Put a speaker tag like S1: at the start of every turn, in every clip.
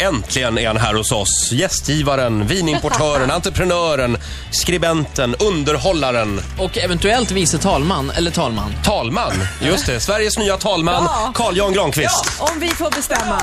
S1: Äntligen är han här hos oss. Gästgivaren, vinimportören, entreprenören, skribenten, underhållaren,
S2: Och eventuellt vice talman, eller talman.
S1: talman. Just det, Sveriges nya talman,
S3: Ja.
S1: Carl Jan Granqvist.
S3: Om vi får bestämma.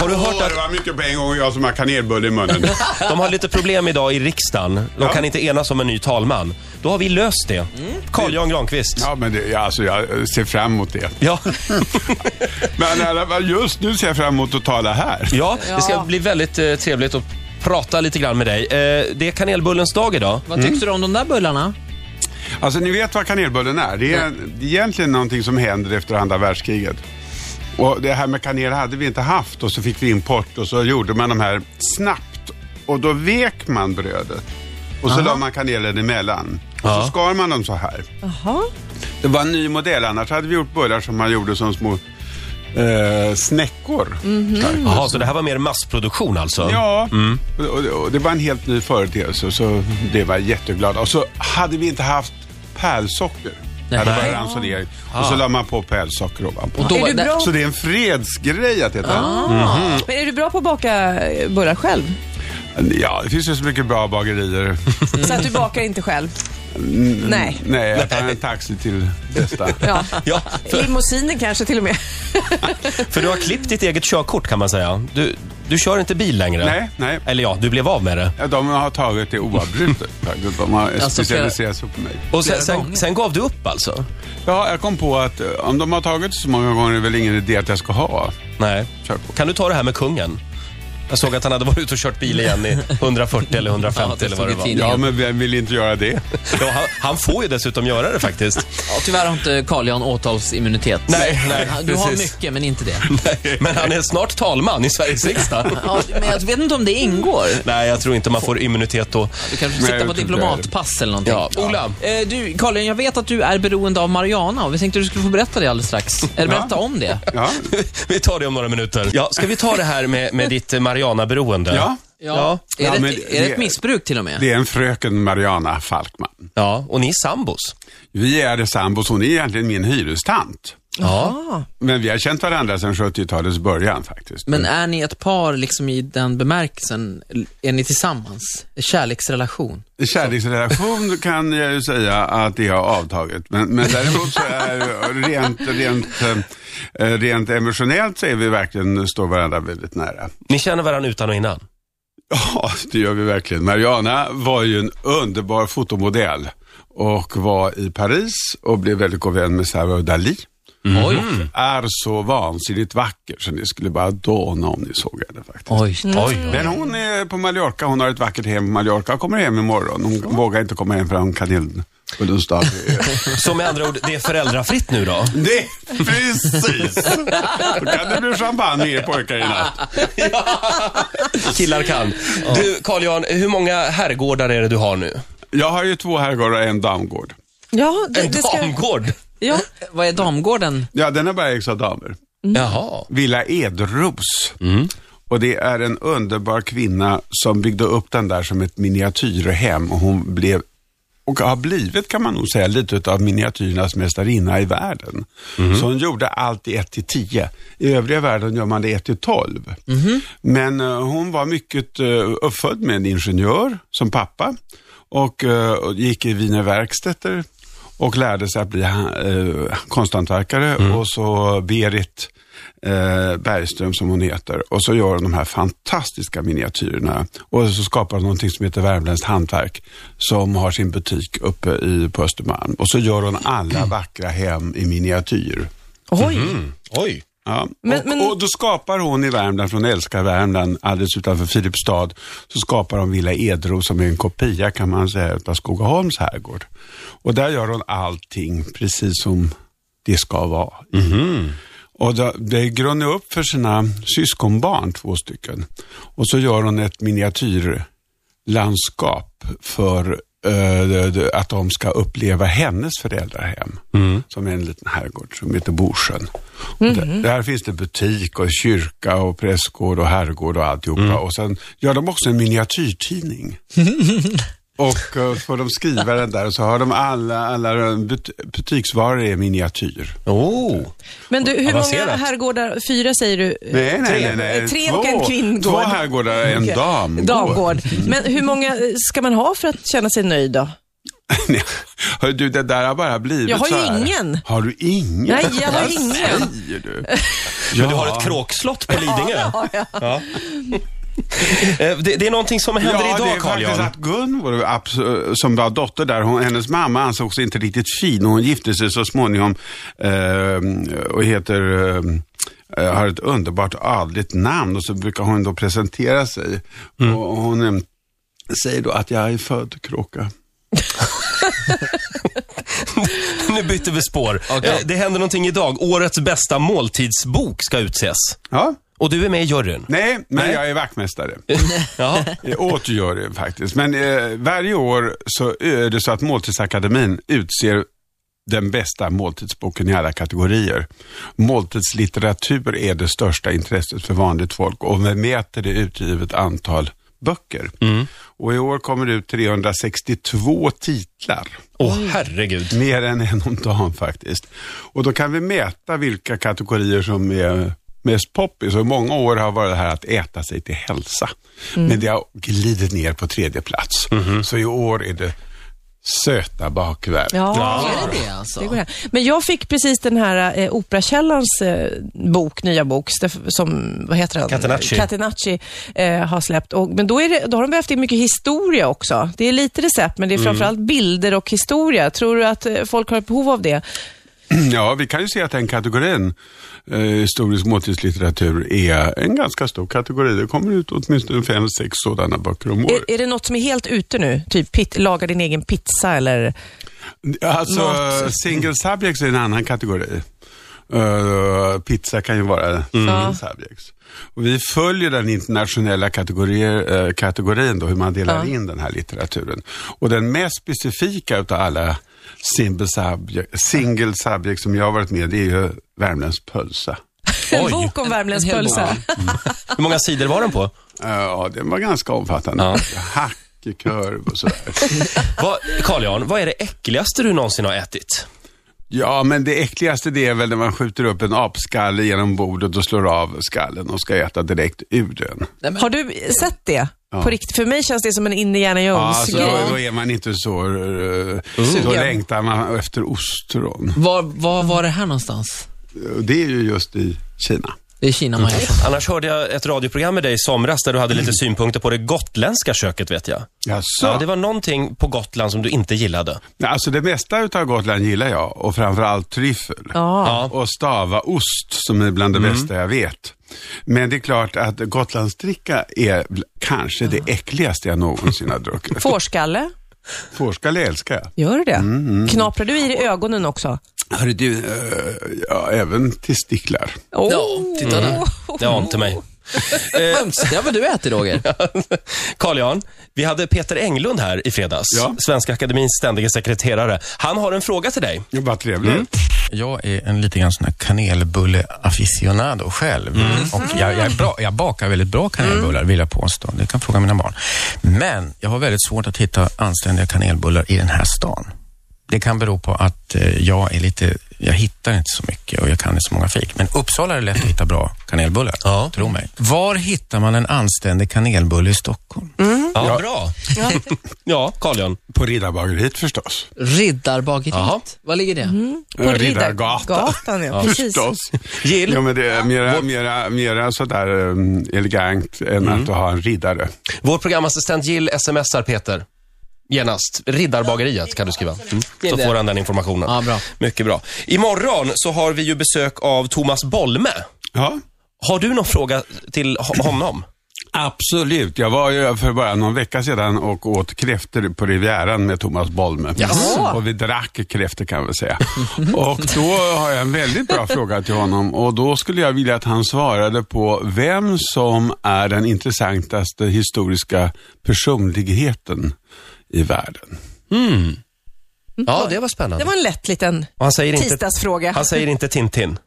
S1: Har du hört
S4: Åh,
S1: att
S4: det var mycket på en gång och jag som har kanelbulle i munnen.
S1: de har lite problem idag i riksdagen? De
S4: Ja.
S1: kan inte enas om en ny talman. Då har vi löst det. Carl Jan Granqvist.
S4: Ja, men det, ja, alltså, jag ser fram emot det.
S1: Ja.
S4: Men i alla fall, just nu ser jag fram emot att tala här.
S1: ja, det ska
S3: Ja.
S1: bli väldigt eh, trevligt att prata lite grann med dig. Eh, det är kanelbullens dag idag.
S2: Vad tyckte du om de där bullarna?
S4: Alltså, ni vet vad kanelbullen är. Det är en, det är egentligen någonting som händer efter andra världskriget. Och det här med kanel hade vi inte haft och så fick vi import och så gjorde man de här snabbt. Och då vek man brödet. Och så la man kanelen emellan. Och
S1: Ja.
S4: så skar man dem så här.
S3: Jaha.
S4: Det var en ny modell, annars hade vi gjort bullar som man gjorde som små eh, snäckor. Så här.
S1: Jaha, så det här var mer massproduktion alltså?
S4: Ja, och, och, och det var en helt ny företeelse så det var jag jätteglad. Och så hade vi inte haft pärlsocker. Det hade
S1: Nej.
S4: bara ransonering. Och så la man på pärlsocker ovanpå.
S2: Och då
S3: Är
S2: var-
S3: du
S2: där-
S3: bra? Ah.
S4: Så det är en fredsgrej att äta.
S3: Men är du bra på att baka eh, bullar själv?
S4: Ja, det finns ju så mycket bra bagerier.
S3: Så att du bakar inte själv? Nej.
S4: Nej, jag tar en taxi till nästa.
S3: Ja.
S1: Ja, för,
S3: Limousinen kanske till och med.
S1: för du har klippt ditt eget körkort kan man säga. Du, du kör inte bil längre.
S4: Nej, nej.
S1: Eller ja, du blev av med det.
S4: Ja, De har tagit det oavbrutet. faktiskt. De har
S2: Alltså,
S4: specialiserat sig på mig.
S1: Och sen,
S2: Flera
S1: sen,
S2: gånger.
S1: sen gav du upp alltså?
S4: Ja, jag kom på att eh, om de har tagit så många gånger är det väl ingen idé att jag ska ha
S1: Nej.
S4: körkort.
S1: Kan du ta det här med kungen? Jag såg att han hade varit ute och kört bil igen i 140 eller 150
S2: Ja, det
S1: eller vad det
S2: stod i
S1: var.
S2: tidningen.
S4: Ja, men vem vill inte göra det?
S1: Ja, han, han får ju dessutom göra det faktiskt.
S2: Ja, tyvärr har inte Carl Jan åtalsimmunitet.
S1: Nej, nej,
S2: Du har
S1: precis.
S2: mycket, men inte det.
S1: Men han är snart talman i Sveriges riksdag.
S2: Ja, men jag vet inte om det ingår.
S1: Nej, jag tror inte man får immunitet då.
S2: Du kanske
S4: Nej,
S2: sitter
S4: jag
S2: på
S4: tror inte
S2: diplomatpass eller någonting.
S1: Ja, Ola.
S2: Eh, Du, Carl, Jan, jag vet att du är beroende av Mariana och vi tänkte att du skulle få berätta det alldeles strax. Eller berätta om det.
S4: Ja.
S1: Vi tar det om några minuter. Ja, ska vi ta det här med, med ditt eh, Mariana-beroende?
S4: Ja.
S1: Ja.
S2: Är,
S4: Ja,
S2: det,
S4: men
S2: ett, är det
S4: det-
S2: ett missbruk till och med?
S4: Det är en fröken Mariana Falkman.
S1: Ja, och ni är sambos.
S4: Vi är sambos, hon är egentligen min hyrestant.
S1: Ja.
S4: Men vi har känt varandra sedan 70-talets början faktiskt.
S2: Men är ni ett par liksom i den bemärkelsen? Är ni tillsammans? Kärleksrelation?
S4: Kärleksrelation kan jag ju säga att det har avtagit. Men, men däremot så är rent, rent, eh, rent emotionellt så är vi verkligen, står varandra väldigt nära.
S1: Ni känner varandra utan och innan?
S4: Ja, det gör vi verkligen. Mariana var ju en underbar fotomodell och var i Paris och blev väldigt god vän med Salvador Dalí.
S2: Oj.
S1: Mm.
S2: Mm.
S4: Är så vansinnigt vacker så ni skulle bara dåna om ni såg henne faktiskt.
S2: Oj.
S1: Oj,
S4: Men hon är på Mallorca, hon har ett vackert hem på Mallorca och kommer hem imorgon. Hon vågar inte komma hem från kanelbullens dag.
S1: Så med andra ord, det är föräldrafritt nu då?
S4: Det, precis! Då kan det bli champagne er pojkar i natt.
S1: Killar kan. Du, Carl Jan, hur många herrgårdar är det du har nu?
S4: Jag har ju två herrgårdar och en damgård.
S3: Ja, det,
S1: En
S3: det ska... Mm.
S1: damgård?
S3: Ja.
S2: Vad är Damgården?
S4: Ja, den har bara ägts av damer.
S1: Jaha.
S4: Villa Edros. Och det är en underbar kvinna som byggde upp den där som ett miniatyrhem och hon blev och har blivit kan man nog säga lite av miniatyrernas mästarinna i världen. Så hon gjorde allt i 1 till 10. I övriga världen gör man det 1 till 12. Men eh, hon var mycket eh, uppfödd med en ingenjör som pappa och eh, gick i Wiener Werkstätter och lärde sig att bli eh, konsthantverkare och så Berit eh, Bergström som hon heter och så gör hon de här fantastiska miniatyrerna och så skapar hon någonting som heter Värmländskt hantverk som har sin butik uppe i, på Östermalm och så gör hon alla vackra hem i miniatyr.
S3: Oj.
S1: Mm. Oj.
S4: Ja.
S3: Men-
S4: och,
S3: men-
S4: och då skapar hon i Värmland, från Älskar Värmland, alldeles utanför Filipstad, så skapar hon Villa Edro som är en kopia kan man säga utav Skogaholms herrgård. Och där gör hon allting precis som det ska vara. Och då, det grundar upp för sina syskonbarn, två stycken. Och så gör hon ett miniatyrlandskap för eh, d- d- att de ska uppleva hennes föräldrahem. Som är en liten herrgård som heter Borsjön. Och Där, där finns det butik och kyrka och prästgård och herrgård och alltihopa. Och sen gör de också en miniatyrtidning. Och eh, får de skriva den där och så har de alla, alla but, butiksvaror i miniatyr.
S1: Oh.
S3: Men du, hur
S1: Avancerat.
S3: många herrgårdar? Fyra säger du? eh,
S4: Nej, nej, nej.
S3: eh,
S4: nej.
S3: Tre och en
S4: Två-
S3: kvinngård.
S4: Två herrgårdar och en
S3: Okej.
S4: damgård.
S3: Damgård. Men hur många eh, ska man ha för att känna sig nöjd då?
S4: Nej, Hör du, det där har bara blivit
S3: Jag har ju
S4: så här.
S3: ingen.
S4: Har du ingen?
S3: Nej, jag har
S4: Vad
S3: ingen.
S4: säger du?
S1: Men du har ett kråkslott på Lidingö.
S3: Ja, ja.
S1: Eh, Det, det är någonting som händer
S4: Ja, det
S1: idag,
S4: är
S1: Carl
S4: faktiskt
S1: Jan.
S4: att Gunvor, abs- som var dotter där, hon, hennes mamma ansågs inte riktigt fin och hon gifte sig så småningom ehm, och heter ehm, eh, har ett underbart adligt namn och så brukar hon då presentera sig.
S1: Mm.
S4: Och hon ehm, säger då att jag är född kråka.
S1: Nu byter vi spår. Eh, Det händer någonting idag. Årets bästa måltidsbok ska utses.
S4: Ja,
S1: Och du är med i juryn.
S4: nej, men
S1: Nej.
S4: jag är vaktmästare.
S1: Ja.
S4: Jag återgör det faktiskt. Men eh, varje år så är det så att Måltidsakademin utser den bästa måltidsboken i alla kategorier. Måltidslitteratur är det största intresset för vanligt folk och vi mäter det utgivet antal böcker. Och i år kommer det ut 362 titlar.
S1: Åh, herregud.
S4: Mer än en om dagen faktiskt. Och då kan vi mäta vilka kategorier som är mest poppis. Och i många år har varit det här att äta sig till hälsa.
S3: Mm.
S4: Men det har glidit ner på tredje plats. Så i år är det söta bakverk.
S3: Mhm. Ja.
S2: Är det det alltså?
S3: Det går hem. Men jag fick precis den här eh, Operakällans eh, bok, nya bok, Steff- som, vad heter den?
S1: Catenacci.
S3: Catenacci eh, har släppt. Och, men då, är det, då har de vävt in mycket historia också. Det är lite recept, men det är framförallt bilder och historia. Tror du att eh, folk har ett behov av det?
S4: Ja, vi kan ju se att den kategorin, eh, historisk måltidslitteratur, är en ganska stor kategori. Det kommer ut åtminstone fem, sex sådana böcker om året.
S3: Är, är det något som är helt ute nu? Typ pit, laga din egen pizza eller?
S4: Alltså,
S3: Mat.
S4: single subjects är en annan kategori. Eh, pizza kan ju vara single subjects. Och vi följer den internationella kategorier, eh, kategorin då, hur man delar in den här litteraturen. Och den mest specifika utav alla simple subject, single subjects som jag har varit med i är ju Värmländsk pölsa.
S3: En
S1: Oj.
S3: bok om värmländsk
S2: En hel bok.
S3: pölsa.
S1: Hur många sidor var den på?
S4: Eh, Ja, den var ganska omfattande.
S1: Ja.
S4: Hackkurv och sådär.
S1: Vad- Carl Jan, vad är det äckligaste du någonsin har ätit?
S4: Ja, men det äckligaste det är väl när man skjuter upp en apskalle genom bordet och slår av skallen och ska äta direkt ur den.
S3: Har du sett det? På riktigt? För mig känns det som en Indiana
S4: Alltså,
S3: Jones-grej.
S4: då, då är man inte så... eh, Då
S3: Sugen.
S4: längtar man efter ostron.
S2: Var, var var det här någonstans?
S4: Det är ju just i Kina.
S2: Det är Kina man gör.
S1: Annars hörde jag ett radioprogram med dig i somras där du hade lite synpunkter på det gotländska köket, vet jag.
S4: Jaså?
S1: Ja, det var någonting på Gotland som du inte gillade.
S4: Nej, Alltså det mesta utav Gotland gillar jag och framförallt tryffel.
S1: Ja.
S4: Och stava ost som är bland det bästa jag vet. Men det är klart att Gotlandsdricka är bl- kanske det äckligaste jag någonsin har druckit.
S3: Fårskalle?
S4: Fårskalle älskar jag.
S3: Gör du det? Knaprar du i dig ögonen också?
S4: Hörru du, eh, ja, även testiklar.
S3: Oh.
S2: Ja, titta där.
S1: Det ante mig.
S2: Det har väl du ätit Roger?
S1: Carl Jan, vi hade Peter Englund här i fredags.
S4: Ja.
S1: Svenska Akademins ständige sekreterare. Han har en fråga till dig.
S4: Ja, Vad trevligt.
S5: Jag är en lite grann sån här kanelbulle-aficionado själv.
S1: Mm.
S5: Och jag, jag, är bra, jag bakar väldigt bra kanelbullar, vill jag påstå. Det kan fråga mina barn. Men jag har väldigt svårt att hitta anständiga kanelbullar i den här stan. Det kan bero på att eh, jag är lite, jag hittar inte så mycket och jag kan inte så många fik. Men Uppsala är det lätt att hitta bra kanelbullar,
S1: Ja.
S5: tro mig. Var hittar man en anständig kanelbulle i Stockholm?
S1: Ja, bra. Ja, Carl Jan.
S4: På Riddarbageriet förstås.
S1: Jaha. Mm.
S2: Riddarbageriet. Var ligger det?
S3: På
S4: Eh,
S3: Riddargatan, ja. Precis.
S4: Förstås.
S1: Jill?
S4: Ja, men det är mera, mera, mera sådär um, elegant än att ha en riddare.
S1: Vår programassistent Jill smsar Peter. Genast. Riddarbageriet kan du skriva. Mm. Så får han den informationen.
S2: Ja, bra.
S1: Mycket bra. Imorgon så har vi ju besök av Thomas Bolme.
S4: Ja,
S1: Har du någon fråga till ho- honom?
S4: absolut. Jag var ju för bara någon vecka sedan och åt kräftor på Rivieran med Thomas Bolme. Mm. Och vi drack kräftor kan vi säga. och då har jag en väldigt bra fråga till honom och då skulle jag vilja att han svarade på vem som är den intressantaste historiska personligheten i världen.
S1: Ja, det var
S3: Det
S1: spännande.
S2: Mm.
S3: var en lätt liten
S1: Och han säger inte,
S3: tisdagsfråga.
S1: han säger inte Tintin.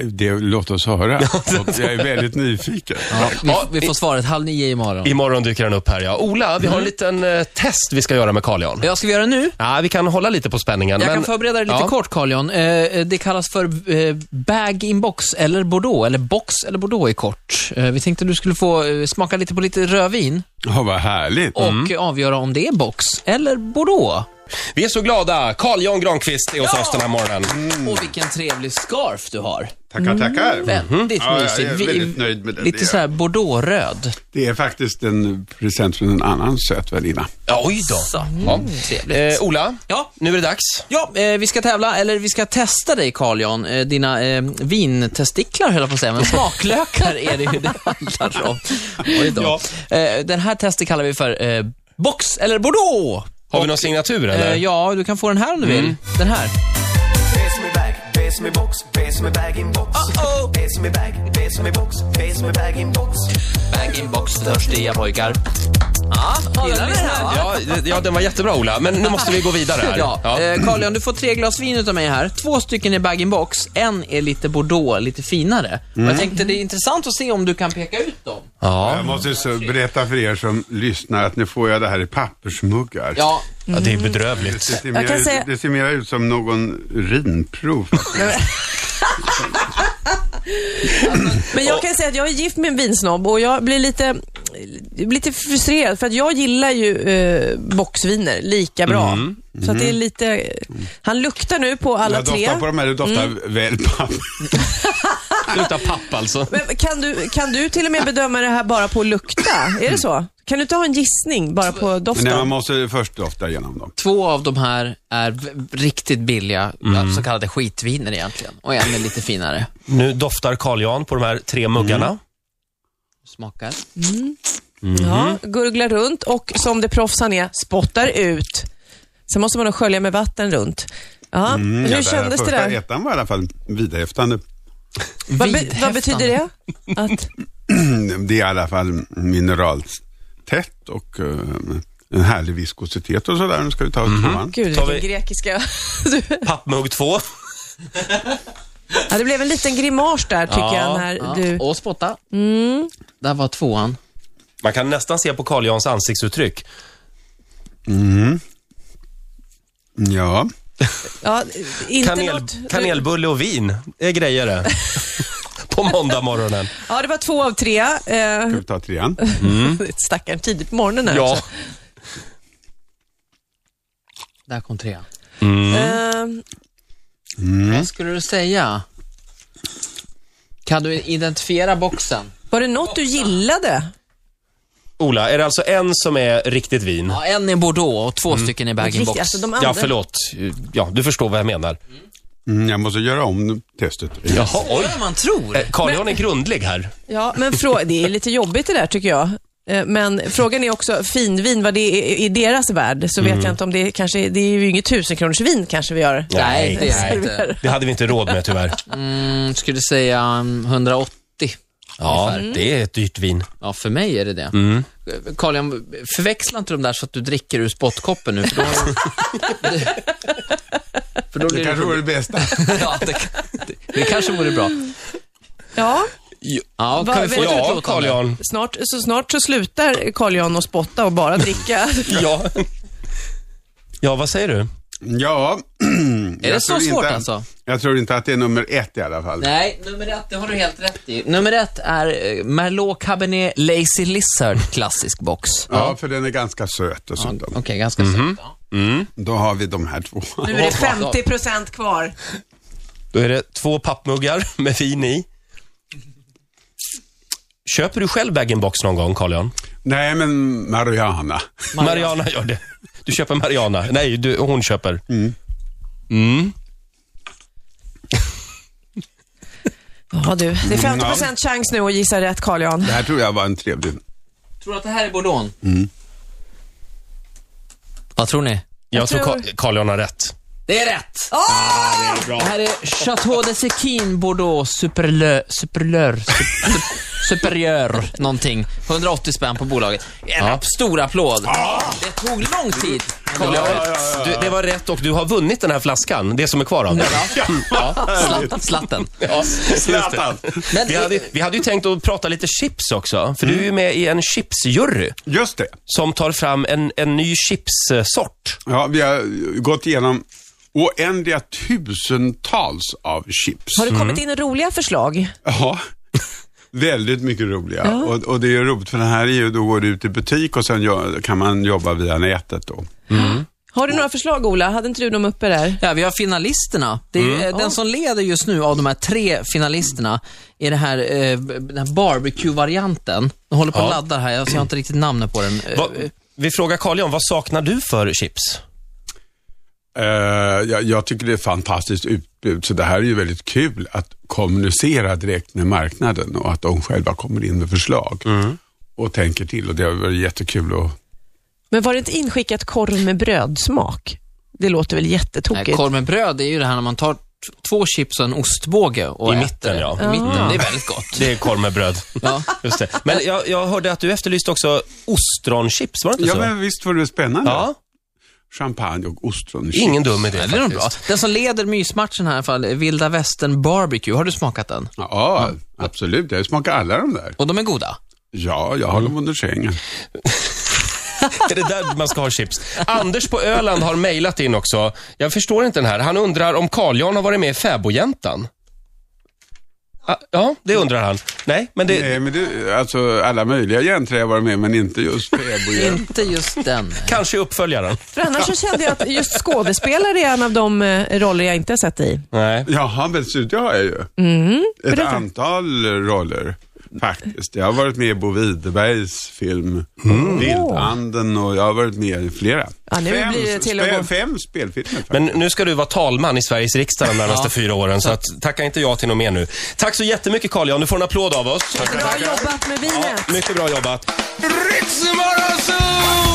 S4: Eh, Det, låt oss höra. Och jag är väldigt nyfiken.
S1: Ja,
S2: Vi, vi får svaret halv nio imorgon.
S1: Imorgon dyker den upp här, ja. Ola, vi har en liten eh, test vi ska göra med Carl Jan.
S2: Ja, ska vi göra det nu?
S1: Ja, vi kan hålla lite på spänningen.
S2: Jag
S1: men-
S2: kan förbereda det lite
S1: Ja.
S2: kort, Carl Jan. Eh, Det kallas för eh, bag in box eller Bordeaux, eller box eller Bordeaux i kort. Eh, Vi tänkte du skulle få eh, smaka lite på lite rödvin
S4: Ja, vad härligt.
S2: och
S1: Mm.
S2: avgöra om det är box eller Bordeaux.
S1: Vi är så glada. Carl Jan Granqvist är hos oss den här morgonen.
S2: Och vilken trevlig scarf du har.
S4: Tackar, tackar.
S2: Väldigt
S4: Ja, jag är
S2: mysig.
S4: väldigt nöjd med den. Det
S2: Lite
S4: är-
S2: så här Bordeaux-röd.
S4: Det är faktiskt en present från en annan söt väninna.
S1: Ja, oj då.
S2: Så.
S4: Mm.
S1: Ja.
S2: Trevligt.
S1: Eh, Ola,
S2: Ja,
S1: nu är det dags.
S2: Ja, eh, vi ska tävla, eller vi ska testa dig Carl Jan. Eh, dina eh, vintestiklar höll jag på att säga, men smaklökar är det ju det handlar om. Oj då. Eh, den här testet kallar vi för eh, box eller bordeaux.
S1: Har vi någon signatur eller?
S2: Eh, ja, du kan få den här om du
S4: Mm.
S2: vill. Den här.
S6: Bass me back, bass me box, bass me back in box.
S2: Uh-oh.
S6: Bass me back, bass me box, bass me back in box.
S2: Bag-in-box, törstiga pojkar. Ja, gillar ni den här? va?
S1: Ja, d- ja, den var jättebra Ola, men nu måste vi gå vidare här.
S2: Ja,
S1: Ja.
S2: eh, Carl Jan, du får tre glas vin utav mig här. Två stycken är bag-in-box, en är lite bordeaux, lite finare.
S1: Mm.
S2: Och Jag tänkte det är intressant att se om du kan peka ut dem.
S4: Jag måste så berätta för er som lyssnar att nu får jag det här i pappersmuggar.
S2: Ja,
S5: Ja, det är
S4: Det
S5: bedrövligt.
S4: ser,
S3: Jag kan
S4: mer,
S3: säga-
S4: det ser mer ut som någon urinprov.
S3: Men jag kan säga att jag är gift med en vinsnobb och jag blir lite, lite frustrerad för att jag gillar ju eh, boxviner lika bra.
S1: Mm.
S3: Så att det är lite... Han luktar nu på alla
S4: Jag
S3: tre. Mm.
S4: doftar på de här, det doftar väl papper.
S1: Sluta papp alltså.
S3: Men kan du, kan du till och med bedöma det här bara på att lukta? Är det så? Kan du inte ha en gissning bara på
S4: Men
S3: doften?
S4: nej, man måste först dofta igenom dem.
S2: Två av de här är v- riktigt billiga,
S1: Mm.
S2: ja, så kallade skitviner egentligen. Och en är lite finare.
S1: Nu doftar Carl Jan på de här tre muggarna.
S2: Smakar.
S1: Mhm.
S3: Ja, gurglar runt och som det proffs han är, spottar ut. Sen måste man nog skölja med vatten runt. Ja,
S1: Mm,
S3: hur
S4: Ja,
S3: kändes det
S4: Första
S3: där?
S4: ettan var i alla fall vidhäftande.
S3: Vad, be,
S2: Vidhäftande.
S3: vad betyder det? Att,
S4: Mm, Det är i alla fall mineraltätt och eh, en härlig viskositet och sådär. Nu ska vi ta
S3: Mhm.
S4: tvåan.
S3: gud,
S1: Tar vi-
S3: vilken grekiska... Du-
S1: Pappmugg två.
S3: ja, det blev en liten grimas där, tycker jag, när
S2: Ja,
S3: du... Mm.
S2: Och spotta. Där var tvåan.
S1: Man kan nästan se på Carl Jans ansiktsuttryck.
S4: Ja,
S3: Ja, inte
S1: Kanel,
S3: något,
S1: kanelbulle och vin, det är grejer det. på måndag morgonen.
S3: Ja, det var två av tre. Eh,
S4: ska vi ta trean?
S3: Stackaren, tidigt på morgonen här
S1: Mm. Ja.
S3: också.
S2: Där kom trean.
S1: Mm.
S3: Eh,
S2: Vad skulle du säga? Kan du identifiera boxen?
S3: var det något du gillade?
S1: Ola, är det alltså en som är riktigt vin?
S2: Ja, en är bordeaux och
S1: Mm.
S2: två stycken är bag-in-box.
S3: Riktigt, alltså, de andra.
S1: Ja, förlåt. Ja, du förstår vad jag menar.
S4: Mm, jag måste göra om testet.
S1: Jaha, oj. Eh,
S2: Ja, man tror.
S1: Carl Jan är grundlig här.
S3: Ja, men frå- det är lite jobbigt det där tycker jag. Eh, Men frågan är också finvin, vad det är i deras värld, så vet jag inte om det är, kanske, det är ju inget tusenkronorsvin kanske vi gör.
S2: Mm. Nej, det är inte.
S1: Det hade vi inte råd med tyvärr.
S2: Mm, skulle säga mm, 180.
S1: Ja, det är ett dyrt vin.
S2: Ja, för mig är det det. Mm. Carl, jag förväxla inte de där så att du dricker ur spottkoppen nu, för då... för då
S4: Det
S2: blir
S4: kanske
S2: det...
S4: vore det bästa.
S2: Ja, det, det, det kanske vore bra.
S3: Ja,
S2: Ja,
S3: Va-
S2: kan vi få ett
S3: vet-
S1: Ja, Carl
S2: utlåtande?
S1: Jan.
S3: snart, så snart så slutar Carl Jan att spotta och bara dricka.
S1: Ja. ja, vad säger du?
S4: Ja.
S2: Är det så svårt alltså?
S4: Jag tror inte att det är nummer ett i alla fall.
S2: Nej, nummer ett, det har du helt rätt i. Nummer ett är eh, Merlot Cabernet Lazy Lizard, klassisk box.
S4: Ja, för den är ganska söt och sånt.
S2: Okej, ganska mm söt.
S4: Då har vi de här två.
S3: Nu är det 50 procent kvar.
S1: Då är det två pappmuggar med vin i. Köper du själv bag-in-box någon gång, Carl Jan?
S4: Nej, men Mariana.
S1: Mariana gör det. Du köper Mariana. Nej, du, hon köper.
S3: Ja du, det är 50 procent chans nu att gissa rätt Carl Jan.
S4: Det här tror jag var en trevlig.
S2: Tror du att det här är Bordeaux? Vad tror ni?
S1: Jag, tror
S3: tror-
S1: Ka- Carl Jan har rätt.
S2: Det är rätt! Ah! det, här är Chateau de Sequin Bordeaux Superlö... Superlör... sup- sup- Superiör någonting. 180 spänn på bolaget. En stor applåd. Det tog lång tid.
S1: rätt Carl Johan. Du, Det var rätt och du har vunnit den här flaskan, det som är kvar av den.
S2: Ja, slatt, slatten.
S1: Ja, just det.
S4: Zlatan.
S2: Men-
S1: vi, hade, vi hade ju tänkt att prata lite chips också, för
S2: Mm.
S1: du är ju med i en chipsjury
S4: Just det.
S1: som tar fram en, en ny chipssort.
S4: Ja, vi har eh, gått igenom oändliga tusentals av chips.
S2: Mm.
S3: Har det kommit in roliga förslag?
S4: Ja, väldigt mycket roliga. Och, och det är ju roligt för den här är ju, då går det ut i butik och sen jo- kan man jobba via nätet då.
S3: Har du några förslag, Ola? Hade inte du dem uppe där?
S2: Ja, vi har finalisterna. Det är, eh, Den som leder just nu av de här tre finalisterna är det här, eh, den här barbecue-varianten. Den håller på att
S1: Ja.
S2: ladda här, jag har inte riktigt namnet på den. Eh,
S1: Va, vi frågar Carl Johan, vad saknar du för chips?
S4: Eh, jag, jag tycker det är fantastiskt utbud, så det här är ju väldigt kul att kommunicera direkt med marknaden och att de själva kommer in med förslag och tänker till och det har varit jättekul att
S3: Men var det inte inskickat korv med brödsmak? Det låter väl
S2: Nej,
S3: jättetokigt?
S2: korv med bröd, det Eh, är ju det här när man tar t- två chips och en ostbåge och
S1: I
S2: äter
S1: mitten,
S2: det.
S1: ja.
S2: I mitten,
S3: Ah.
S2: det är väldigt gott.
S1: Det är korv med bröd.
S2: Ja.
S1: Just det. Men jag, jag hörde att du efterlyste också ostronchips, var det inte
S4: Ja,
S1: så?
S4: men visst var det spännande? Mm.
S1: Ja,
S4: alltså, Champagne och ostron.
S1: ingen dum idé
S2: Ja, det är nog bra.
S1: faktiskt.
S2: Den som leder mysmatchen här i alla fall, är vilda västern barbecue. Har du smakat den?
S4: Ja, absolut. Jag smakar alla de där.
S2: Och de är goda.
S4: Ja, jag har dem under sängen.
S1: Är det där man ska ha chips? Anders på Öland har mejlat in också. Jag förstår inte den här. Han undrar om Carl Jan har varit med i Fäbodjäntan? Ah, Ja, det undrar han. Nej, men det...
S4: Nej, men det, alltså alla möjliga jäntor har jag varit med, men inte just fäbodjäntor.
S2: Inte just den.
S1: Kanske uppföljaren.
S3: För annars så kände jag att just skådespelare är en av de eh, roller jag inte har sett i.
S1: Nej.
S4: Jaha, men så det har jag ju.
S3: Mm.
S4: Ett antal roller faktiskt. Jag har varit med i Bo Widerbergs film Vildanden och jag har varit med i flera.
S3: Mm. Ja, nu
S4: fem,
S3: blir det till och
S4: spe-
S3: med.
S4: fem spelfilmer faktiskt.
S1: Men nu ska du vara talman i Sveriges riksdag de närmaste fyra åren, så att, tacka inte ja till något mer nu. Tack så jättemycket Carl Jan. Du får en applåd av oss.
S3: Bra jobbat med vinet.
S1: Mycket bra jobbat. Riksmorgonzoo!